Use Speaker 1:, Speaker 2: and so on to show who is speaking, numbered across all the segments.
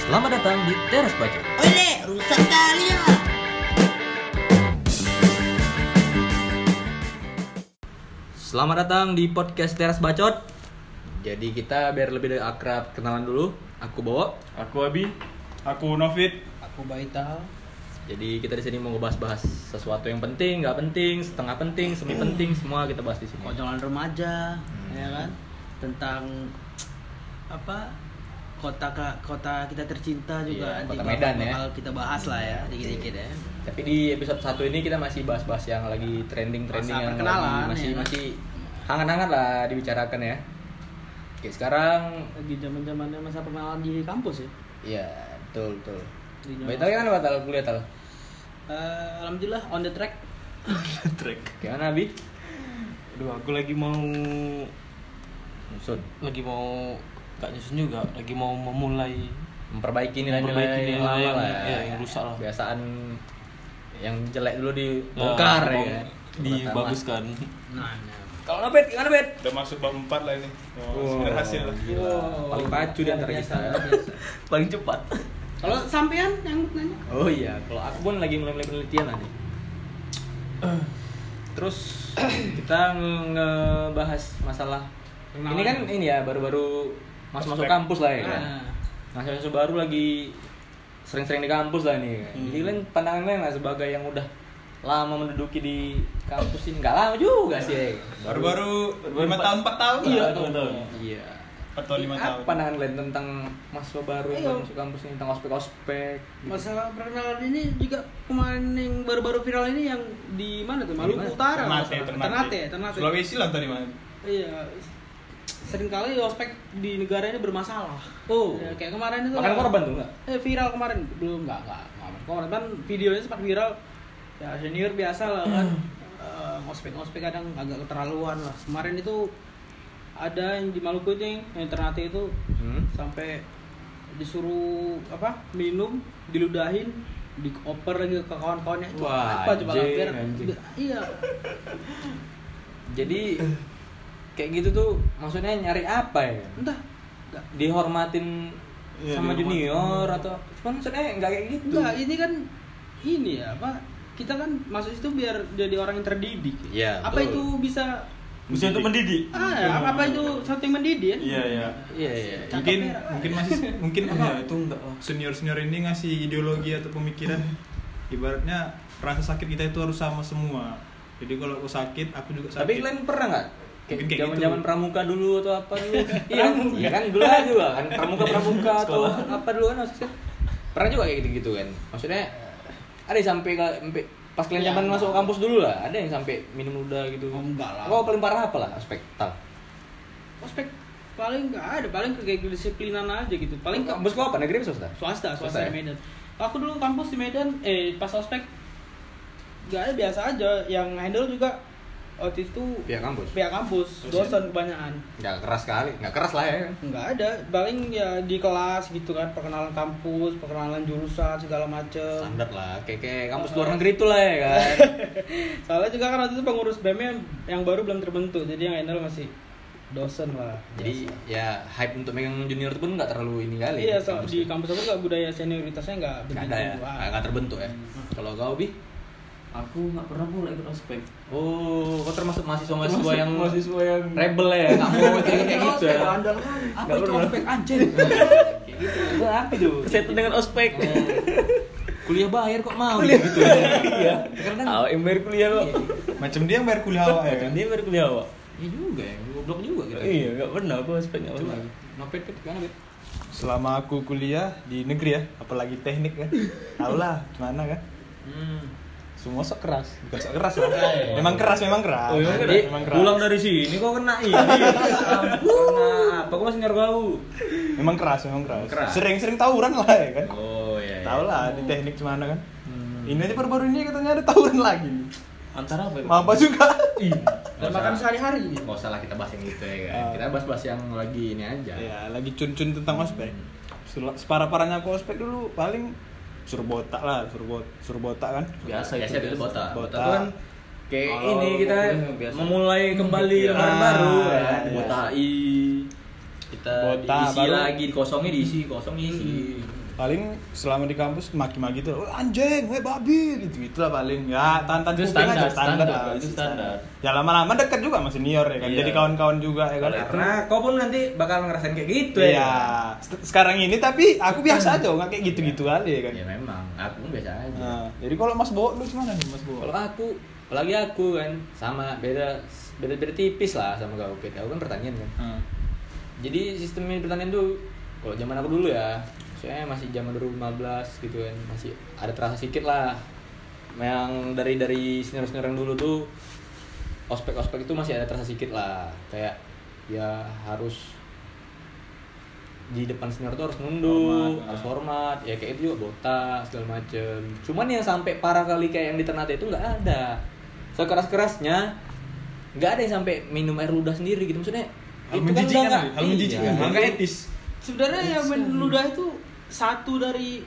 Speaker 1: Selamat datang di Teras Baca.
Speaker 2: Ole, rusak kali ya.
Speaker 1: Selamat datang di podcast Teras Bacot. Jadi kita biar lebih dari akrab kenalan dulu. Aku Bowo.
Speaker 3: Aku Abi, aku Novit.
Speaker 2: Aku Baital.
Speaker 1: Jadi kita di sini mau ngebahas-bahas sesuatu yang penting, nggak penting, setengah penting, semi penting, semua kita bahas di sini.
Speaker 2: Kocolan remaja,
Speaker 1: Hmm.
Speaker 2: ya kan? Tentang apa? Kota ka- kota kita tercinta juga
Speaker 1: Iya,
Speaker 2: nanti
Speaker 1: kota
Speaker 2: bakal-
Speaker 1: Medan, ya. Hmm.
Speaker 2: bakal kita bahas lah ya dikit-dikit ya.
Speaker 1: Tapi di episode 1 ini kita masih bahas-bahas yang lagi trending-trending
Speaker 2: Masa
Speaker 1: yang
Speaker 2: perkenalan,
Speaker 1: lagi masih
Speaker 2: ya.
Speaker 1: masih hangat-hangat lah dibicarakan ya. Oke, sekarang
Speaker 2: Lagi zaman-zamannya masa pengenalan di kampus ya.
Speaker 1: ya betul betul.
Speaker 2: Di zaman-
Speaker 1: Baik, kan batal kuliah tal.
Speaker 2: Eh, alhamdulillah on the track.
Speaker 3: Trek.
Speaker 1: Gimana, Abi?
Speaker 3: Aduh, aku lagi mau
Speaker 1: Musun.
Speaker 3: lagi mau gak nyusun juga, lagi mau memulai
Speaker 1: memperbaiki nilai-nilai
Speaker 3: Memperbaiki
Speaker 1: yang
Speaker 3: nilai
Speaker 1: lama
Speaker 3: yang-
Speaker 1: lah
Speaker 3: iya, yang rusak lah.
Speaker 1: kebiasaan yang jelek dulu
Speaker 3: Ya,
Speaker 1: dibongkar ya,
Speaker 3: mau
Speaker 1: kan?
Speaker 3: Dibaguskan.
Speaker 2: Nah, nah.
Speaker 1: kalau lo bet gimana bet
Speaker 4: Udah masuk bab 4 lah ini.
Speaker 1: Wow.
Speaker 4: Oh, sudah hasil.
Speaker 1: Gila. Iya, paling pacu di antara kita ya. paling cepat
Speaker 2: Kalau sampean yang nanya
Speaker 1: oh iya kalau aku pun lagi mulai mulai penelitian lah nih terus kita nge- ngebahas masalah
Speaker 2: Kenalan.
Speaker 1: ini kan ini ya baru-baru masuk masuk
Speaker 4: Prospek.
Speaker 1: kampus lah ya kan?
Speaker 2: Nah.
Speaker 1: mahasiswa baru lagi sering-sering di kampus lah nih. kan. Jadi kalian pandangan kalian lah sebagai yang udah lama menduduki di kampus ini nggak lama juga sih. ya.
Speaker 4: Baru-baru
Speaker 3: Baru-baru
Speaker 4: 5 tahun 4 tahun.
Speaker 3: Iya,
Speaker 4: lah.
Speaker 3: tahun. Eh,
Speaker 1: Iya.
Speaker 4: 4 tahun 5
Speaker 1: Apa
Speaker 4: tahun.
Speaker 1: pandangan kalian tentang mahasiswa baru yang
Speaker 2: Ayo.
Speaker 1: baru masuk kampus ini tentang ospek-ospek? gitu?
Speaker 2: Masalah perkenalan ini juga kemarin yang baru-baru viral ini yang di mana tuh? Maluku
Speaker 1: Di mana?
Speaker 2: Utara.
Speaker 4: Ternate,
Speaker 2: masalah.
Speaker 4: Ternate.
Speaker 2: Ternate.
Speaker 4: Sulawesi lah tadi mana?
Speaker 2: Iya. Seringkali ospek di negara ini bermasalah.
Speaker 1: Oh.
Speaker 2: Ya, kayak kemarin itu.
Speaker 1: Makan korban tuh nggak?
Speaker 2: Eh, viral kemarin. Belum enggak enggak. Enggak kemarin kan videonya sempat viral. Ya senior biasa lah kan. Eh, Ospek-ospek kadang agak keterlaluan lah. Kemarin itu ada yang di Maluku itu yang, yang Ternate itu
Speaker 1: Hmm.
Speaker 2: sampai disuruh apa minum diludahin dioper lagi ke kawan-kawannya itu
Speaker 1: Wah,
Speaker 2: apa coba
Speaker 1: anjing,
Speaker 2: hampir
Speaker 1: anjing.
Speaker 2: iya
Speaker 1: Jadi kayak gitu tuh maksudnya nyari apa ya?
Speaker 2: entah enggak
Speaker 1: Dihormatin
Speaker 3: Iya,
Speaker 1: sama
Speaker 3: dihormatin.
Speaker 1: junior atau cuman maksudnya nggak kayak gitu.
Speaker 2: enggak ini kan ini ya apa kita kan masuk itu biar jadi orang yang terdidik
Speaker 1: Iya,
Speaker 2: apa itu
Speaker 1: betul.
Speaker 2: bisa
Speaker 3: Usia untuk mendidik.
Speaker 2: ah ya, apa, apa itu satu yang mendidik ya
Speaker 3: Iya, iya.
Speaker 1: Iya iya.
Speaker 2: Cakep
Speaker 4: Mungkin
Speaker 2: merah.
Speaker 4: mungkin masih mungkin
Speaker 3: Iya,
Speaker 4: ya, apa?
Speaker 3: itu enggak lah.
Speaker 4: Senior-senior ini ngasih ideologi atau pemikiran ibaratnya rasa sakit kita itu harus sama semua. Jadi kalau aku sakit, aku juga sakit.
Speaker 1: Tapi kalian pernah nggak? Kayak
Speaker 4: Mungkin kayak
Speaker 1: zaman
Speaker 4: gitu.
Speaker 1: zaman pramuka dulu atau apa dulu? iya, kan? iya kan dulu aja juga kan pramuka pramuka atau apa dulu kan maksudnya? Pernah juga kayak gitu gitu kan? Maksudnya ada yang sampai ke- sampai pas kalian
Speaker 2: Iya,
Speaker 1: zaman
Speaker 2: enggak.
Speaker 1: masuk kampus dulu lah, ada yang sampai minum ludah gitu.
Speaker 2: Oh, enggak lah.
Speaker 1: Kau paling parah apa lah aspek tal?
Speaker 2: ospek paling enggak ada paling kedisiplinan aja gitu paling ke-
Speaker 1: kampus kau apa negeri apa swasta?
Speaker 2: swasta
Speaker 1: Swasta
Speaker 2: swasta
Speaker 1: ya?
Speaker 2: di Medan aku dulu kampus di Medan eh pas ospek nggak ada biasa aja yang handle juga waktu itu
Speaker 1: Pihak Iya, kampus.
Speaker 2: pihak kampus
Speaker 1: ya?
Speaker 4: Dosen.
Speaker 2: dosen kebanyakan
Speaker 1: Nggak keras sekali, nggak keras lah ya kan?
Speaker 2: nggak ada paling ya di kelas gitu kan perkenalan kampus perkenalan jurusan segala macem
Speaker 1: Standar lah, kayak kayak kampus luar negeri itu lah ya kan?
Speaker 2: soalnya juga kan waktu itu pengurus BEM yang, yang baru belum terbentuk jadi yang handle masih dosen lah
Speaker 1: Jadi ya hype untuk megang junior itu pun nggak terlalu ini kali.
Speaker 2: iya so,
Speaker 1: kampus ya.
Speaker 2: di
Speaker 1: tuh.
Speaker 2: kampus aku nggak budaya senioritasnya nggak
Speaker 1: Gak
Speaker 2: begitu
Speaker 1: ada ya,
Speaker 2: Ah.
Speaker 1: nggak nggak terbentuk ya. Kalau kau bi,
Speaker 5: Aku nggak pernah pula ikut ospek.
Speaker 1: oh, kau termasuk mahasiswa mahasiswa
Speaker 5: Termasuk
Speaker 1: yang
Speaker 5: mahasiswa yang
Speaker 1: rebel ya, nggak mau kayak kayak gitu ya.
Speaker 5: Apa itu ospek anjing?
Speaker 1: Wah, apa itu?
Speaker 5: Setan dengan ospek.
Speaker 1: Oh. Kuliah bayar kok mau gitu ya. Iya. Karena
Speaker 5: Ah, yang bayar kuliah lo.
Speaker 4: Macam dia yang bayar kuliah awak ya kan?
Speaker 5: Dia bayar kuliah apa?
Speaker 1: Iya juga ya, goblok juga kita.
Speaker 5: Iya, nggak pernah aku ospek nggak
Speaker 1: Coba,
Speaker 5: pernah.
Speaker 1: nopet pet gimana bet?
Speaker 4: Selama aku kuliah di negeri ya, apalagi teknik kan. Tahu lah gimana kan?
Speaker 1: Hmm.
Speaker 4: Semua sok keras, bukan sok keras lah. Memang keras,
Speaker 1: Oh,
Speaker 4: memang keras.
Speaker 1: Jadi, pulang dari sini kok kena ini. Karena apa? Kok masih nyergau?
Speaker 4: Memang keras, memang keras.
Speaker 1: Memang keras.
Speaker 4: Sering-sering tawuran lah ya kan.
Speaker 1: Oh iya.
Speaker 4: Tahu lah di teknik gimana kan. Ini aja baru-baru ini katanya ada tawuran lagi. nih.
Speaker 5: Antara apa? ya?
Speaker 4: Mabah juga.
Speaker 1: Iya.
Speaker 2: dan makan sehari-hari gitu.
Speaker 1: Gak usah lah kita bahas yang gitu ya kan.
Speaker 4: Ah.
Speaker 1: Kita bahas-bahas yang lagi ini aja.
Speaker 4: Ya, lagi cun-cun tentang ospek. Sel- Separah-parahnya aku ospek dulu paling suruh botak lah, suruh bot- suruh botak kan.
Speaker 5: Biasa itu.
Speaker 1: biasa itu botak.
Speaker 4: Botak.
Speaker 1: Botak kan kayak
Speaker 5: Kalau
Speaker 1: ini kita
Speaker 5: populer biasa.
Speaker 1: memulai kembali
Speaker 4: Iya.
Speaker 1: lembaran baru
Speaker 4: Ah,
Speaker 1: ya.
Speaker 4: iya.
Speaker 1: Botai. Kita
Speaker 4: Botak,
Speaker 1: diisi
Speaker 4: baru-
Speaker 1: lagi, kosongnya diisi, kosong diisi.
Speaker 4: paling selama di kampus maki-maki tuh "Wah, anjing, weh babi gitu gitulah paling ya tantan
Speaker 5: Itu
Speaker 4: kuping
Speaker 5: standar, standar,
Speaker 4: lah,
Speaker 5: itu
Speaker 4: masih
Speaker 5: standar.
Speaker 4: ya lama-lama dekat juga sama senior ya kan
Speaker 5: Iya.
Speaker 4: jadi kawan-kawan juga ya kan
Speaker 1: Karena kau pun nanti bakal ngerasain kayak gitu
Speaker 4: itu ya
Speaker 1: ya.
Speaker 4: sekarang ini tapi aku biasa aja nggak kayak gitu-gitu
Speaker 5: Iya.
Speaker 4: kali ya kan
Speaker 1: Ya memang, aku pun biasa aja.
Speaker 4: nah, jadi kalau Mas Bo lu gimana nih Mas Bo
Speaker 1: Kalau aku, apalagi aku kan sama beda beda beda tipis lah sama kau. Pit. Kau kan pertanian kan.
Speaker 4: Hmm.
Speaker 1: Jadi sistemnya pertanian tuh kalau zaman aku dulu ya, saya masih zaman 2015 gitu kan, masih ada terasa sedikit lah. Yang dari dari senior senior yang dulu tuh ospek ospek itu masih ada terasa sedikit lah. Kayak ya harus di depan senior tuh harus nunduk,
Speaker 4: Hormat,
Speaker 1: harus
Speaker 4: nah.
Speaker 1: hormat, ya kayak itu juga botak segala macem. Cuman yang sampai parah kali kayak yang di Ternate itu nggak ada. Sekeras kerasnya nggak ada yang sampai minum air ludah sendiri gitu maksudnya.
Speaker 4: hal
Speaker 1: nggak-
Speaker 4: menjijikan
Speaker 1: nggak-
Speaker 4: Li. hal menjijikan
Speaker 1: iya.
Speaker 4: nggak etis
Speaker 2: sebenarnya yang meludah itu satu dari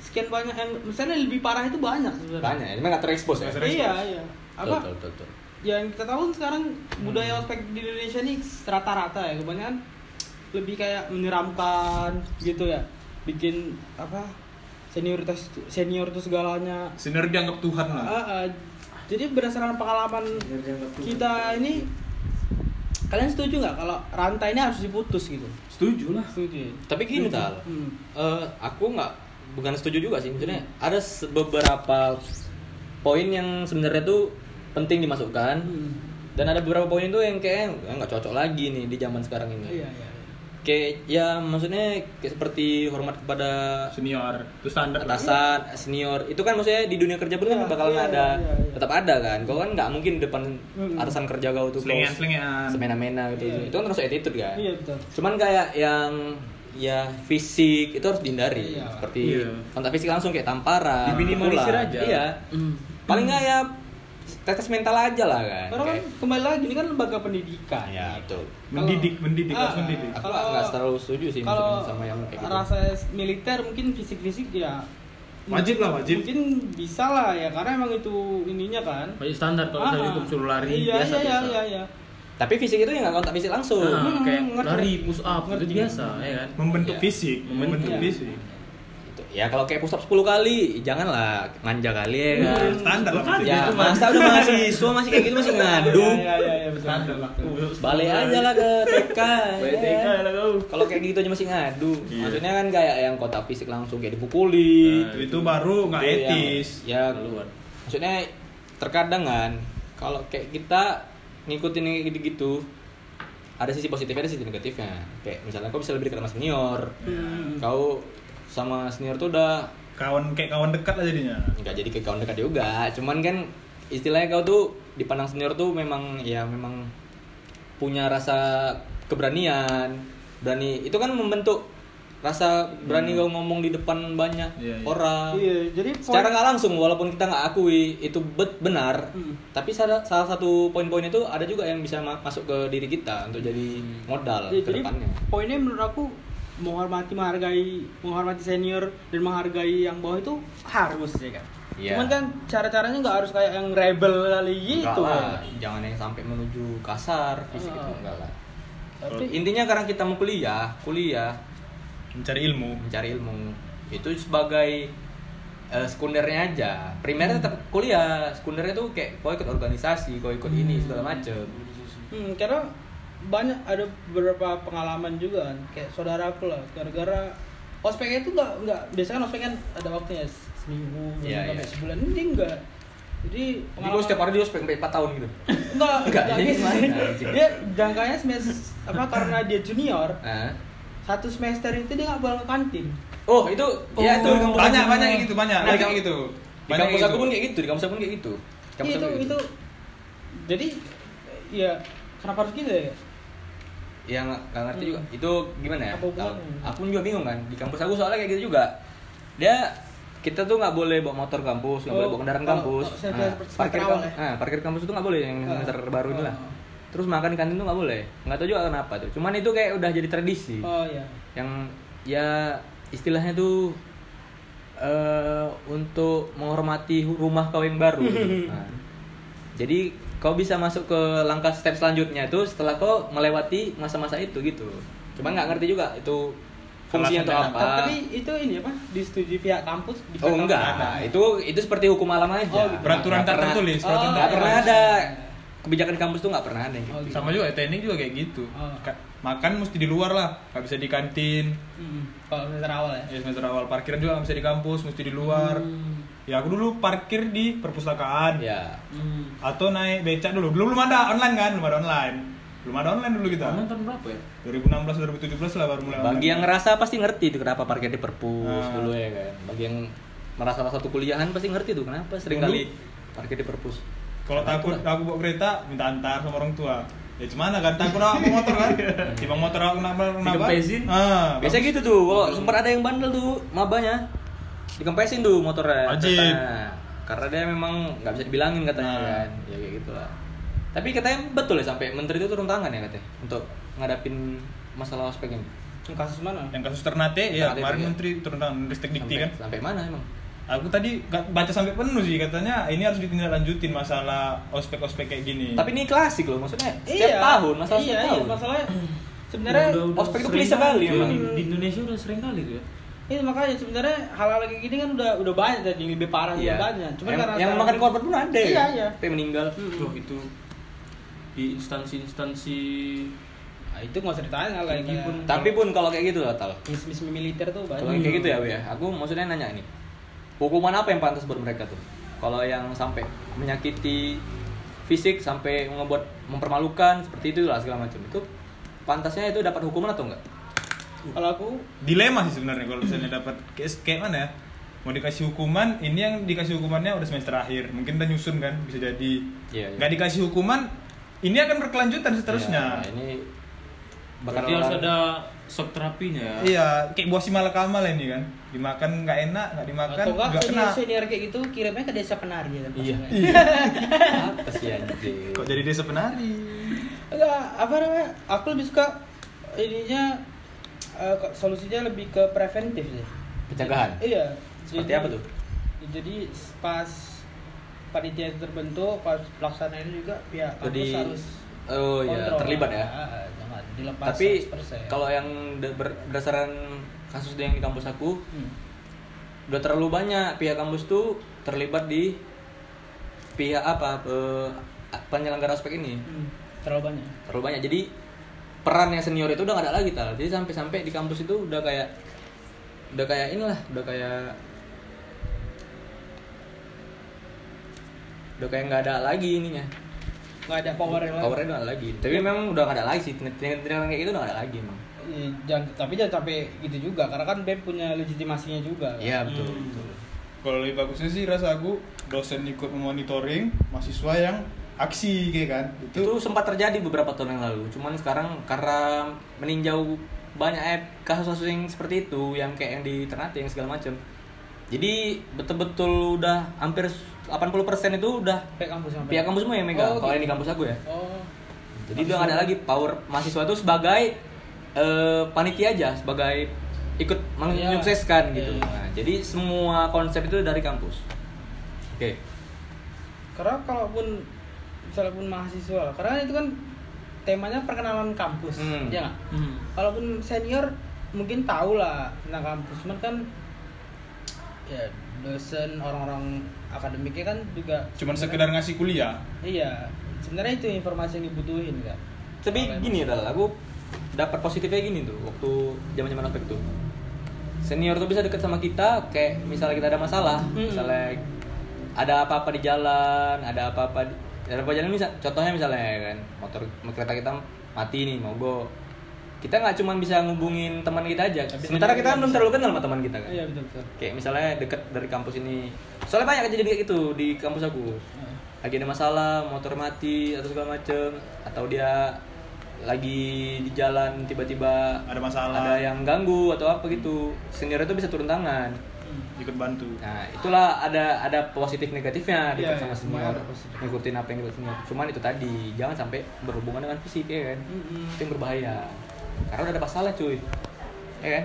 Speaker 2: sekian banyak yang misalnya lebih parah itu banyak sebenarnya
Speaker 1: Banyak, emang nggak terekspos ya.
Speaker 4: Nggak terekspos.
Speaker 2: iya iya apa ya,
Speaker 1: Betul, Hmm. betul, betul.
Speaker 2: yang kita tahu sekarang budaya ospek di Indonesia ini rata-rata ya kebanyakan lebih kayak menyeramkan gitu ya bikin apa senioritas senior tuh segalanya
Speaker 4: senior dianggap Tuhan lah
Speaker 2: Ah, ah. jadi berdasarkan pengalaman kita ini kalian setuju nggak kalau rantai ini harus diputus gitu
Speaker 5: Setuju lah.
Speaker 2: setuju ya?
Speaker 1: Tapi gini tal,
Speaker 2: Hmm.
Speaker 1: Eh, aku nggak bukan setuju juga sih. Maksudnya ada se- beberapa poin yang sebenarnya tuh penting dimasukkan
Speaker 2: Hmm.
Speaker 1: dan ada beberapa poin tuh yang kayak nggak cocok lagi nih di zaman sekarang ini.
Speaker 2: iya iya
Speaker 1: Kayak ya maksudnya kayak seperti hormat kepada
Speaker 4: senior itu standar lah.
Speaker 1: atasan, senior. Itu kan maksudnya di dunia kerja pun kan
Speaker 2: Iya,
Speaker 1: bakal
Speaker 2: iya,
Speaker 1: ada,
Speaker 2: iya, iya.
Speaker 1: tetap ada kan. Kau kan nggak mungkin depan
Speaker 2: Mm-mm.
Speaker 1: atasan kerja kau tuh
Speaker 4: Selingan,
Speaker 1: kau
Speaker 4: selingan.
Speaker 1: semena-mena gitu.
Speaker 2: Iya.
Speaker 1: Itu kan terus attitude kan.
Speaker 2: iya betul
Speaker 1: Cuman kayak yang ya fisik itu harus dihindari
Speaker 2: Iya.
Speaker 1: seperti
Speaker 4: Iya.
Speaker 1: kontak fisik langsung kayak tamparan,
Speaker 5: Diminimalisir
Speaker 1: pukulan.
Speaker 5: aja.
Speaker 1: Iya.
Speaker 2: Hmm.
Speaker 1: Paling nggak ya tetes mental aja lah kan.
Speaker 2: karena kan
Speaker 1: Kayak-
Speaker 2: kembali lagi ini kan lembaga pendidikan
Speaker 1: ya betul.
Speaker 4: mendidik mendidik
Speaker 2: Ah,
Speaker 4: harus mendidik
Speaker 1: Aku
Speaker 2: Kalau-
Speaker 1: nggak terlalu setuju sih
Speaker 2: kalau
Speaker 1: maksudnya sama yang kayak gitu.
Speaker 2: rasa militer mungkin fisik-fisik ya
Speaker 4: Wajib lah, wajib.
Speaker 2: mungkin bisa lah ya karena emang itu ininya kan
Speaker 5: Kayak standar kalau
Speaker 2: Ah,
Speaker 5: saya hukum suruh lari
Speaker 2: iya,
Speaker 5: biasa
Speaker 2: iya,
Speaker 5: biasa.
Speaker 2: iya, iya.
Speaker 1: Tapi fisik itu ya nggak kontak fisik langsung.
Speaker 5: Nah,
Speaker 2: Hmm,
Speaker 5: kayak
Speaker 2: ngerti.
Speaker 5: lari push up itu
Speaker 2: Ngerti.
Speaker 5: biasa ya kan.
Speaker 4: membentuk
Speaker 1: Iya.
Speaker 4: fisik membentuk
Speaker 2: Iya.
Speaker 4: fisik
Speaker 1: Gitu. Ya kalau kayak push up 10 kali, janganlah manja kali ya kan.
Speaker 4: standar lah
Speaker 5: Standar.
Speaker 1: Ya,
Speaker 5: Itu mah.
Speaker 1: masa udah mahasiswa masih kayak gitu masih ngadu.
Speaker 2: Iya, iya, iya, betul.
Speaker 5: Standar lah.
Speaker 1: Balik aja lah ke TK. ya.
Speaker 5: BTK lah kau.
Speaker 1: Kalau kayak gitu aja masih ngadu.
Speaker 5: Iya.
Speaker 1: Maksudnya kan kayak yang kota fisik langsung kayak dipukuli.
Speaker 5: Nah,
Speaker 4: Itu- itu baru nggak
Speaker 1: Itu yang-
Speaker 4: etis
Speaker 1: Ya,
Speaker 5: Keluar.
Speaker 1: maksudnya terkadang kan kalau kayak kita ngikutin yang kayak gitu-gitu ada sisi positifnya ada sisi negatifnya. Kayak misalnya kau bisa lebih dekat sama senior.
Speaker 2: Hmm.
Speaker 1: Kau sama senior tuh udah
Speaker 4: kawan kayak kawan dekat lah jadinya
Speaker 1: nggak jadi ke kawan dekat juga. Cuman kan istilahnya kau tuh dipandang senior tuh memang ya memang punya rasa keberanian, berani. Itu kan membentuk rasa berani kau ngomong di depan banyak
Speaker 4: Hmm. Iya, iya.
Speaker 1: orang.
Speaker 2: Iya, jadi poin-
Speaker 1: Secara nggak langsung walaupun kita nggak akui itu bet benar,
Speaker 2: Hmm.
Speaker 1: tapi salah, salah satu poin-poin itu ada juga yang bisa ma- masuk ke diri kita untuk jadi
Speaker 4: Hmm.
Speaker 1: modal
Speaker 2: Ya,
Speaker 1: ke
Speaker 2: jadi
Speaker 1: depannya.
Speaker 2: poinnya menurut aku menghormati menghargai menghormati senior dan menghargai yang bawah itu harus ya kan
Speaker 1: Iya.
Speaker 2: cuman kan cara caranya nggak harus kayak yang rebel kali gitu
Speaker 1: Enggak lah,
Speaker 2: kan.
Speaker 1: jangan yang sampai menuju kasar fisik itu
Speaker 2: Ah.
Speaker 1: enggak lah.
Speaker 2: tapi
Speaker 1: Intinya karena kita mau kuliah, kuliah
Speaker 4: mencari ilmu
Speaker 1: mencari ilmu itu sebagai eh, sekundernya aja primernya tetap kuliah sekundernya tuh kayak kau ikut organisasi kau ikut ini segala macem
Speaker 2: Hmm, karena banyak ada beberapa pengalaman juga kan kayak saudara aku lah gara-gara ospeknya itu nggak nggak biasanya kan ospek kan ada waktunya seminggu
Speaker 1: Iya,
Speaker 2: sampai
Speaker 1: iya.
Speaker 2: sebulan ini enggak jadi
Speaker 1: jadi kau setiap hari dia spek sampai 4 tahun gitu
Speaker 2: enggak
Speaker 1: Enggak,
Speaker 2: enggak
Speaker 1: jadi
Speaker 2: gitu.
Speaker 1: gimana?
Speaker 2: dia jangkanya semester apa karena dia junior
Speaker 1: Hah?
Speaker 2: satu semester itu dia nggak boleh ke kantin
Speaker 1: oh itu ya itu
Speaker 4: Oh,
Speaker 1: di kampus
Speaker 4: banyak
Speaker 1: aku.
Speaker 4: banyak yang gitu banyak
Speaker 1: Nah,
Speaker 4: banyak yang gitu
Speaker 1: di
Speaker 4: Banyak
Speaker 1: kampus
Speaker 4: yang
Speaker 1: aku
Speaker 4: gitu.
Speaker 1: pun kayak gitu di kampus aku pun kayak gitu Di kampus
Speaker 2: Iya,
Speaker 1: aku
Speaker 2: itu
Speaker 1: kayak
Speaker 2: itu jadi ya kenapa harus gitu
Speaker 1: Iya.
Speaker 2: ya
Speaker 1: ya nggak nggak ngerti
Speaker 2: Hmm.
Speaker 1: juga itu gimana ya
Speaker 2: Apa hubungannya?
Speaker 1: Tahu. aku juga bingung kan di kampus aku soalnya kayak gitu juga dia kita tuh nggak boleh bawa motor kampus nggak
Speaker 2: Oh,
Speaker 1: boleh bawa kendaraan
Speaker 2: kalau-
Speaker 1: kampus
Speaker 2: kalau saya
Speaker 1: Nah,
Speaker 2: bilang seperti
Speaker 1: parkir
Speaker 2: awal
Speaker 1: kam-
Speaker 2: ya.
Speaker 1: nah, parkir kampus itu nggak boleh yang
Speaker 2: Ah.
Speaker 1: semester baru ini lah
Speaker 2: Ah.
Speaker 1: terus makan di kantin tuh nggak boleh nggak tahu juga kenapa tuh cuman itu kayak udah jadi tradisi
Speaker 2: oh ya
Speaker 1: yang ya istilahnya tuh eh untuk menghormati hu- rumah kau yang baru. gitu. Nah, jadi kau bisa masuk ke langkah step selanjutnya itu setelah kau melewati masa-masa itu gitu. Cuma nggak ngerti juga itu fungsinya
Speaker 4: Alasan
Speaker 1: untuk
Speaker 4: dan
Speaker 1: apa?
Speaker 2: Tapi itu ini apa? Disetujui pihak kampus?
Speaker 1: Ah. Oh
Speaker 2: dikatakan
Speaker 1: enggak,
Speaker 2: ada.
Speaker 1: itu itu seperti hukum alam aja.
Speaker 2: Oh, gitu.
Speaker 4: Peraturan
Speaker 1: Nggak
Speaker 4: tak
Speaker 1: pernah-
Speaker 4: tertulis,
Speaker 2: Oh,
Speaker 4: peraturan
Speaker 1: Nggak
Speaker 4: tak
Speaker 1: pernah
Speaker 4: tertulis.
Speaker 1: ada kebijakan di kampus tuh nggak pernah ada.
Speaker 2: Oh, gitu.
Speaker 4: Sama juga teknik juga kayak gitu.
Speaker 1: Ah.
Speaker 2: Oh.
Speaker 4: Ka- Makan mesti di luar lah, nggak bisa di kantin.
Speaker 2: Mm-mm. Hmm, Kalau semester awal ya.
Speaker 4: Ya semester awal parkiran juga nggak bisa di kampus, mesti di luar. Ya aku dulu parkir di perpustakaan.
Speaker 1: Hmm. Ya.
Speaker 2: Hmm.
Speaker 4: Atau naik becak dulu. Belum belum ada online kan? Belum ada online. Belum ada online dulu kita.
Speaker 5: Kamu tahun berapa ya?
Speaker 4: 2016 2017 lah baru mulai online.
Speaker 1: Bagi yang ngerasa pasti ngerti tuh kenapa parkir di perpus
Speaker 4: Ah.
Speaker 1: dulu ya kan. Bagi yang merasa salah satu kuliahan pasti ngerti tuh kenapa sering
Speaker 4: Dulu.
Speaker 1: kali parkir di perpus.
Speaker 4: Kalau
Speaker 1: Nah,
Speaker 4: takut aku bawa kereta minta antar sama orang tua. Ya cuman kan takut aku bawa motor kan.
Speaker 1: Iya.
Speaker 4: Timbang motor aku nak nak
Speaker 5: Tiga bensin.
Speaker 4: Ah,
Speaker 1: Biasanya gitu tuh, kalau sempat ada yang bandel tuh mabanya dikempesin tuh motornya.
Speaker 4: Wajib.
Speaker 1: katanya. Karena dia memang nggak bisa dibilangin katanya
Speaker 4: Nah.
Speaker 1: kan. Ya kayak gitulah. Tapi katanya betul ya sampai menteri itu turun tangan ya katanya untuk ngadapin masalah ospek ini.
Speaker 2: Kasus mana?
Speaker 4: yang kasus Ternate
Speaker 1: Ternate
Speaker 4: ya
Speaker 1: itu
Speaker 4: kemarin
Speaker 1: ya.
Speaker 4: menteri turun tangan Ristek Dikti
Speaker 1: sampai,
Speaker 4: kan.
Speaker 1: sampai mana emang?
Speaker 4: Aku tadi nggak baca sampai penuh sih katanya ini harus ditindaklanjutin masalah ospek-ospek kayak gini.
Speaker 1: Tapi ini klasik loh, maksudnya setiap tahun, masalah
Speaker 2: iya,
Speaker 1: setiap
Speaker 2: iya,
Speaker 1: tahun.
Speaker 2: masalahnya sebenarnya
Speaker 5: Udah- udah
Speaker 1: ospek itu
Speaker 5: sering
Speaker 1: klise kali
Speaker 5: tuh,
Speaker 1: emang.
Speaker 5: Di, di Indonesia udah sering kali tuh ya.
Speaker 2: Iya makanya sebenarnya hal-hal kayak gini kan udah udah banyak tadi yang lebih parah
Speaker 1: Iya.
Speaker 2: juga banyak. Cuma
Speaker 1: yang,
Speaker 2: karena
Speaker 1: yang
Speaker 2: sekarang-
Speaker 1: makan korban pun ada.
Speaker 2: Iya, iya.
Speaker 1: Tapi meninggal.
Speaker 2: Mm-mm.
Speaker 5: Wah, itu di instansi-instansi
Speaker 2: Nah, itu nggak usah ditanya
Speaker 1: Iya.
Speaker 2: lah kayak
Speaker 5: Tinggi pun.
Speaker 1: Tapi pun kalau kayak gitu lah, Tal.
Speaker 2: Misi-misi militer tuh
Speaker 1: Kalau
Speaker 2: banyak.
Speaker 1: yang kayak gitu ya, ya. Aku maksudnya nanya ini. Hukuman apa yang pantas buat mereka tuh? Kalau yang sampai menyakiti fisik sampai ngebuat mempermalukan seperti itu lah segala macam itu pantasnya itu dapat hukuman atau enggak? gitu.
Speaker 2: Kalau aku
Speaker 4: dilema sih sebenarnya kalau misalnya dapat case kayak mana ya mau dikasih hukuman ini yang dikasih hukumannya udah semester akhir mungkin udah nyusun kan bisa jadi
Speaker 1: Iya, iya.
Speaker 4: nggak dikasih hukuman ini akan berkelanjutan seterusnya
Speaker 1: Ya, ini bakal
Speaker 5: berarti harus ada shock terapinya ya.
Speaker 4: iya kayak buah si malakamal ini kan dimakan nggak enak nggak
Speaker 1: Kan
Speaker 4: dimakan
Speaker 2: atau enggak
Speaker 4: nggak kena
Speaker 2: senior senior kayak gitu kirimnya ke desa penari ya. tempat
Speaker 1: Iya.
Speaker 2: saya.
Speaker 1: apa sih anjing?
Speaker 4: kok jadi desa penari
Speaker 2: Enggak apa namanya? Aku lebih suka ininya eh, ke- solusinya lebih ke preventif sih.
Speaker 1: pencegahan.
Speaker 2: Iya.
Speaker 1: Seperti
Speaker 2: Jadi-
Speaker 1: apa tuh?
Speaker 2: Jadi pas panitia itu terbentuk, pas pelaksanaannya juga pihak
Speaker 1: Jadi
Speaker 2: kampus harus
Speaker 1: oh iya
Speaker 2: kontrol.
Speaker 1: terlibat ya.
Speaker 2: Ah, ah, jangan dilepas
Speaker 1: Tapi
Speaker 2: 100%.
Speaker 1: kalau yang de- ber- berdasarkan kasus yang di kampus aku
Speaker 2: Hmm.
Speaker 1: udah terlalu banyak pihak kampus tuh terlibat di pihak apa pe- penyelenggara ospek ini
Speaker 2: Hmm, terlalu banyak.
Speaker 1: terlalu banyak jadi perannya senior itu udah gak ada lagi tal jadi sampai-sampai di kampus itu udah kayak udah kayak inilah udah kayak udah kayak nggak ada lagi ininya
Speaker 2: Nggak ada power yang lain.
Speaker 1: powernya udah nggak ada lagi tapi memang udah nggak ada lagi sih tindakan-tindakan kayak gitu udah nggak ada lagi emang
Speaker 2: Iya, jangan- tapi jangan sampai gitu juga karena kan BEM punya legitimasinya juga. kan.
Speaker 1: iya betul,
Speaker 4: Hmm.
Speaker 1: betul.
Speaker 4: kalau lebih bagusnya sih rasa aku dosen ikut monitoring mahasiswa yang aksi kayak kan itu,
Speaker 1: itu sempat terjadi beberapa tahun yang lalu cuman sekarang karena meninjau banyak eh, kasus-kasus yang seperti itu yang kayak yang di Ternate yang segala macam jadi betul-betul udah hampir 80% itu udah
Speaker 2: Pihak kampus sampai.
Speaker 1: pihak kampus semua yang megang
Speaker 2: Oh,
Speaker 1: kalau yang di
Speaker 2: gitu.
Speaker 1: kampus aku ya
Speaker 2: Oh.
Speaker 1: jadi udah nggak ada lagi power mahasiswa itu sebagai eh, panitia aja sebagai ikut
Speaker 2: Iya.
Speaker 1: menyukseskan gitu
Speaker 2: Iya, iya.
Speaker 1: Nah, jadi semua konsep itu dari kampus oke
Speaker 2: Karena kalaupun misalnya pun mahasiswa, lah, karena itu kan temanya perkenalan kampus,
Speaker 1: Hmm.
Speaker 2: ya nggak?
Speaker 5: Hmm.
Speaker 2: Walaupun senior mungkin tahu lah tentang kampus, cuman kan ya dosen orang-orang akademiknya kan juga
Speaker 4: cuman sekedar ngasih kuliah
Speaker 2: iya sebenarnya itu informasi yang dibutuhin kan.
Speaker 1: tapi
Speaker 2: Kalau
Speaker 1: gini ya Dal, aku dapat positifnya gini tuh waktu zaman zaman ospek tuh senior tuh bisa deket sama kita kayak misalnya kita ada masalah
Speaker 2: Mm-mm.
Speaker 1: misalnya ada apa-apa di jalan ada apa-apa di, ada apa jalan misal contohnya misalnya ya kan motor kereta kita mati nih mogok kita nggak cuman bisa ngubungin teman kita aja
Speaker 2: Tapi
Speaker 1: sementara
Speaker 2: sendiri
Speaker 1: kita kan
Speaker 2: nggak
Speaker 1: belum
Speaker 2: bisa.
Speaker 1: terlalu kenal sama teman kita kan
Speaker 2: Iya betul betul.
Speaker 1: kayak misalnya deket dari kampus ini soalnya banyak kejadian kayak gitu di kampus aku
Speaker 2: Hmm.
Speaker 1: lagi ada masalah motor mati atau segala macem atau dia lagi di jalan tiba-tiba
Speaker 4: Ada masalah.
Speaker 1: ada yang ganggu atau apa gitu senior itu bisa turun tangan
Speaker 4: ikut bantu
Speaker 1: nah itulah ada ada positif negatifnya dekat
Speaker 2: Iya,
Speaker 1: sama
Speaker 2: iya,
Speaker 1: senior
Speaker 2: ada positif.
Speaker 1: ngikutin apa yang dibuat senior cuman itu tadi jangan sampai berhubungan dengan fisik ya kan
Speaker 2: Mm-mm.
Speaker 1: itu yang berbahaya karena udah ada masalah cuy ya kan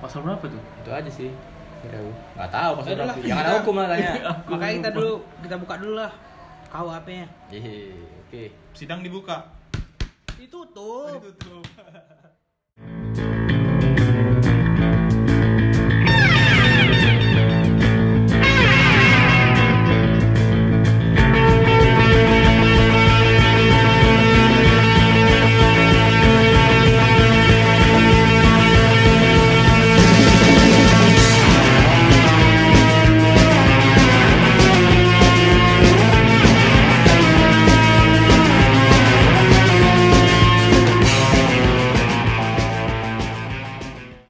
Speaker 5: Pasal berapa tuh?
Speaker 1: itu aja sih Kira aku. nggak tahu Iya. pas
Speaker 2: Ya udah
Speaker 1: udah
Speaker 2: lah.
Speaker 1: jangan ada hukum lah tanya
Speaker 2: Makanya kita dulu kita buka dulu lah KUHP-nya.
Speaker 1: Hehe, Iya, oke
Speaker 4: sidang dibuka
Speaker 2: Ditutup.
Speaker 4: ditutup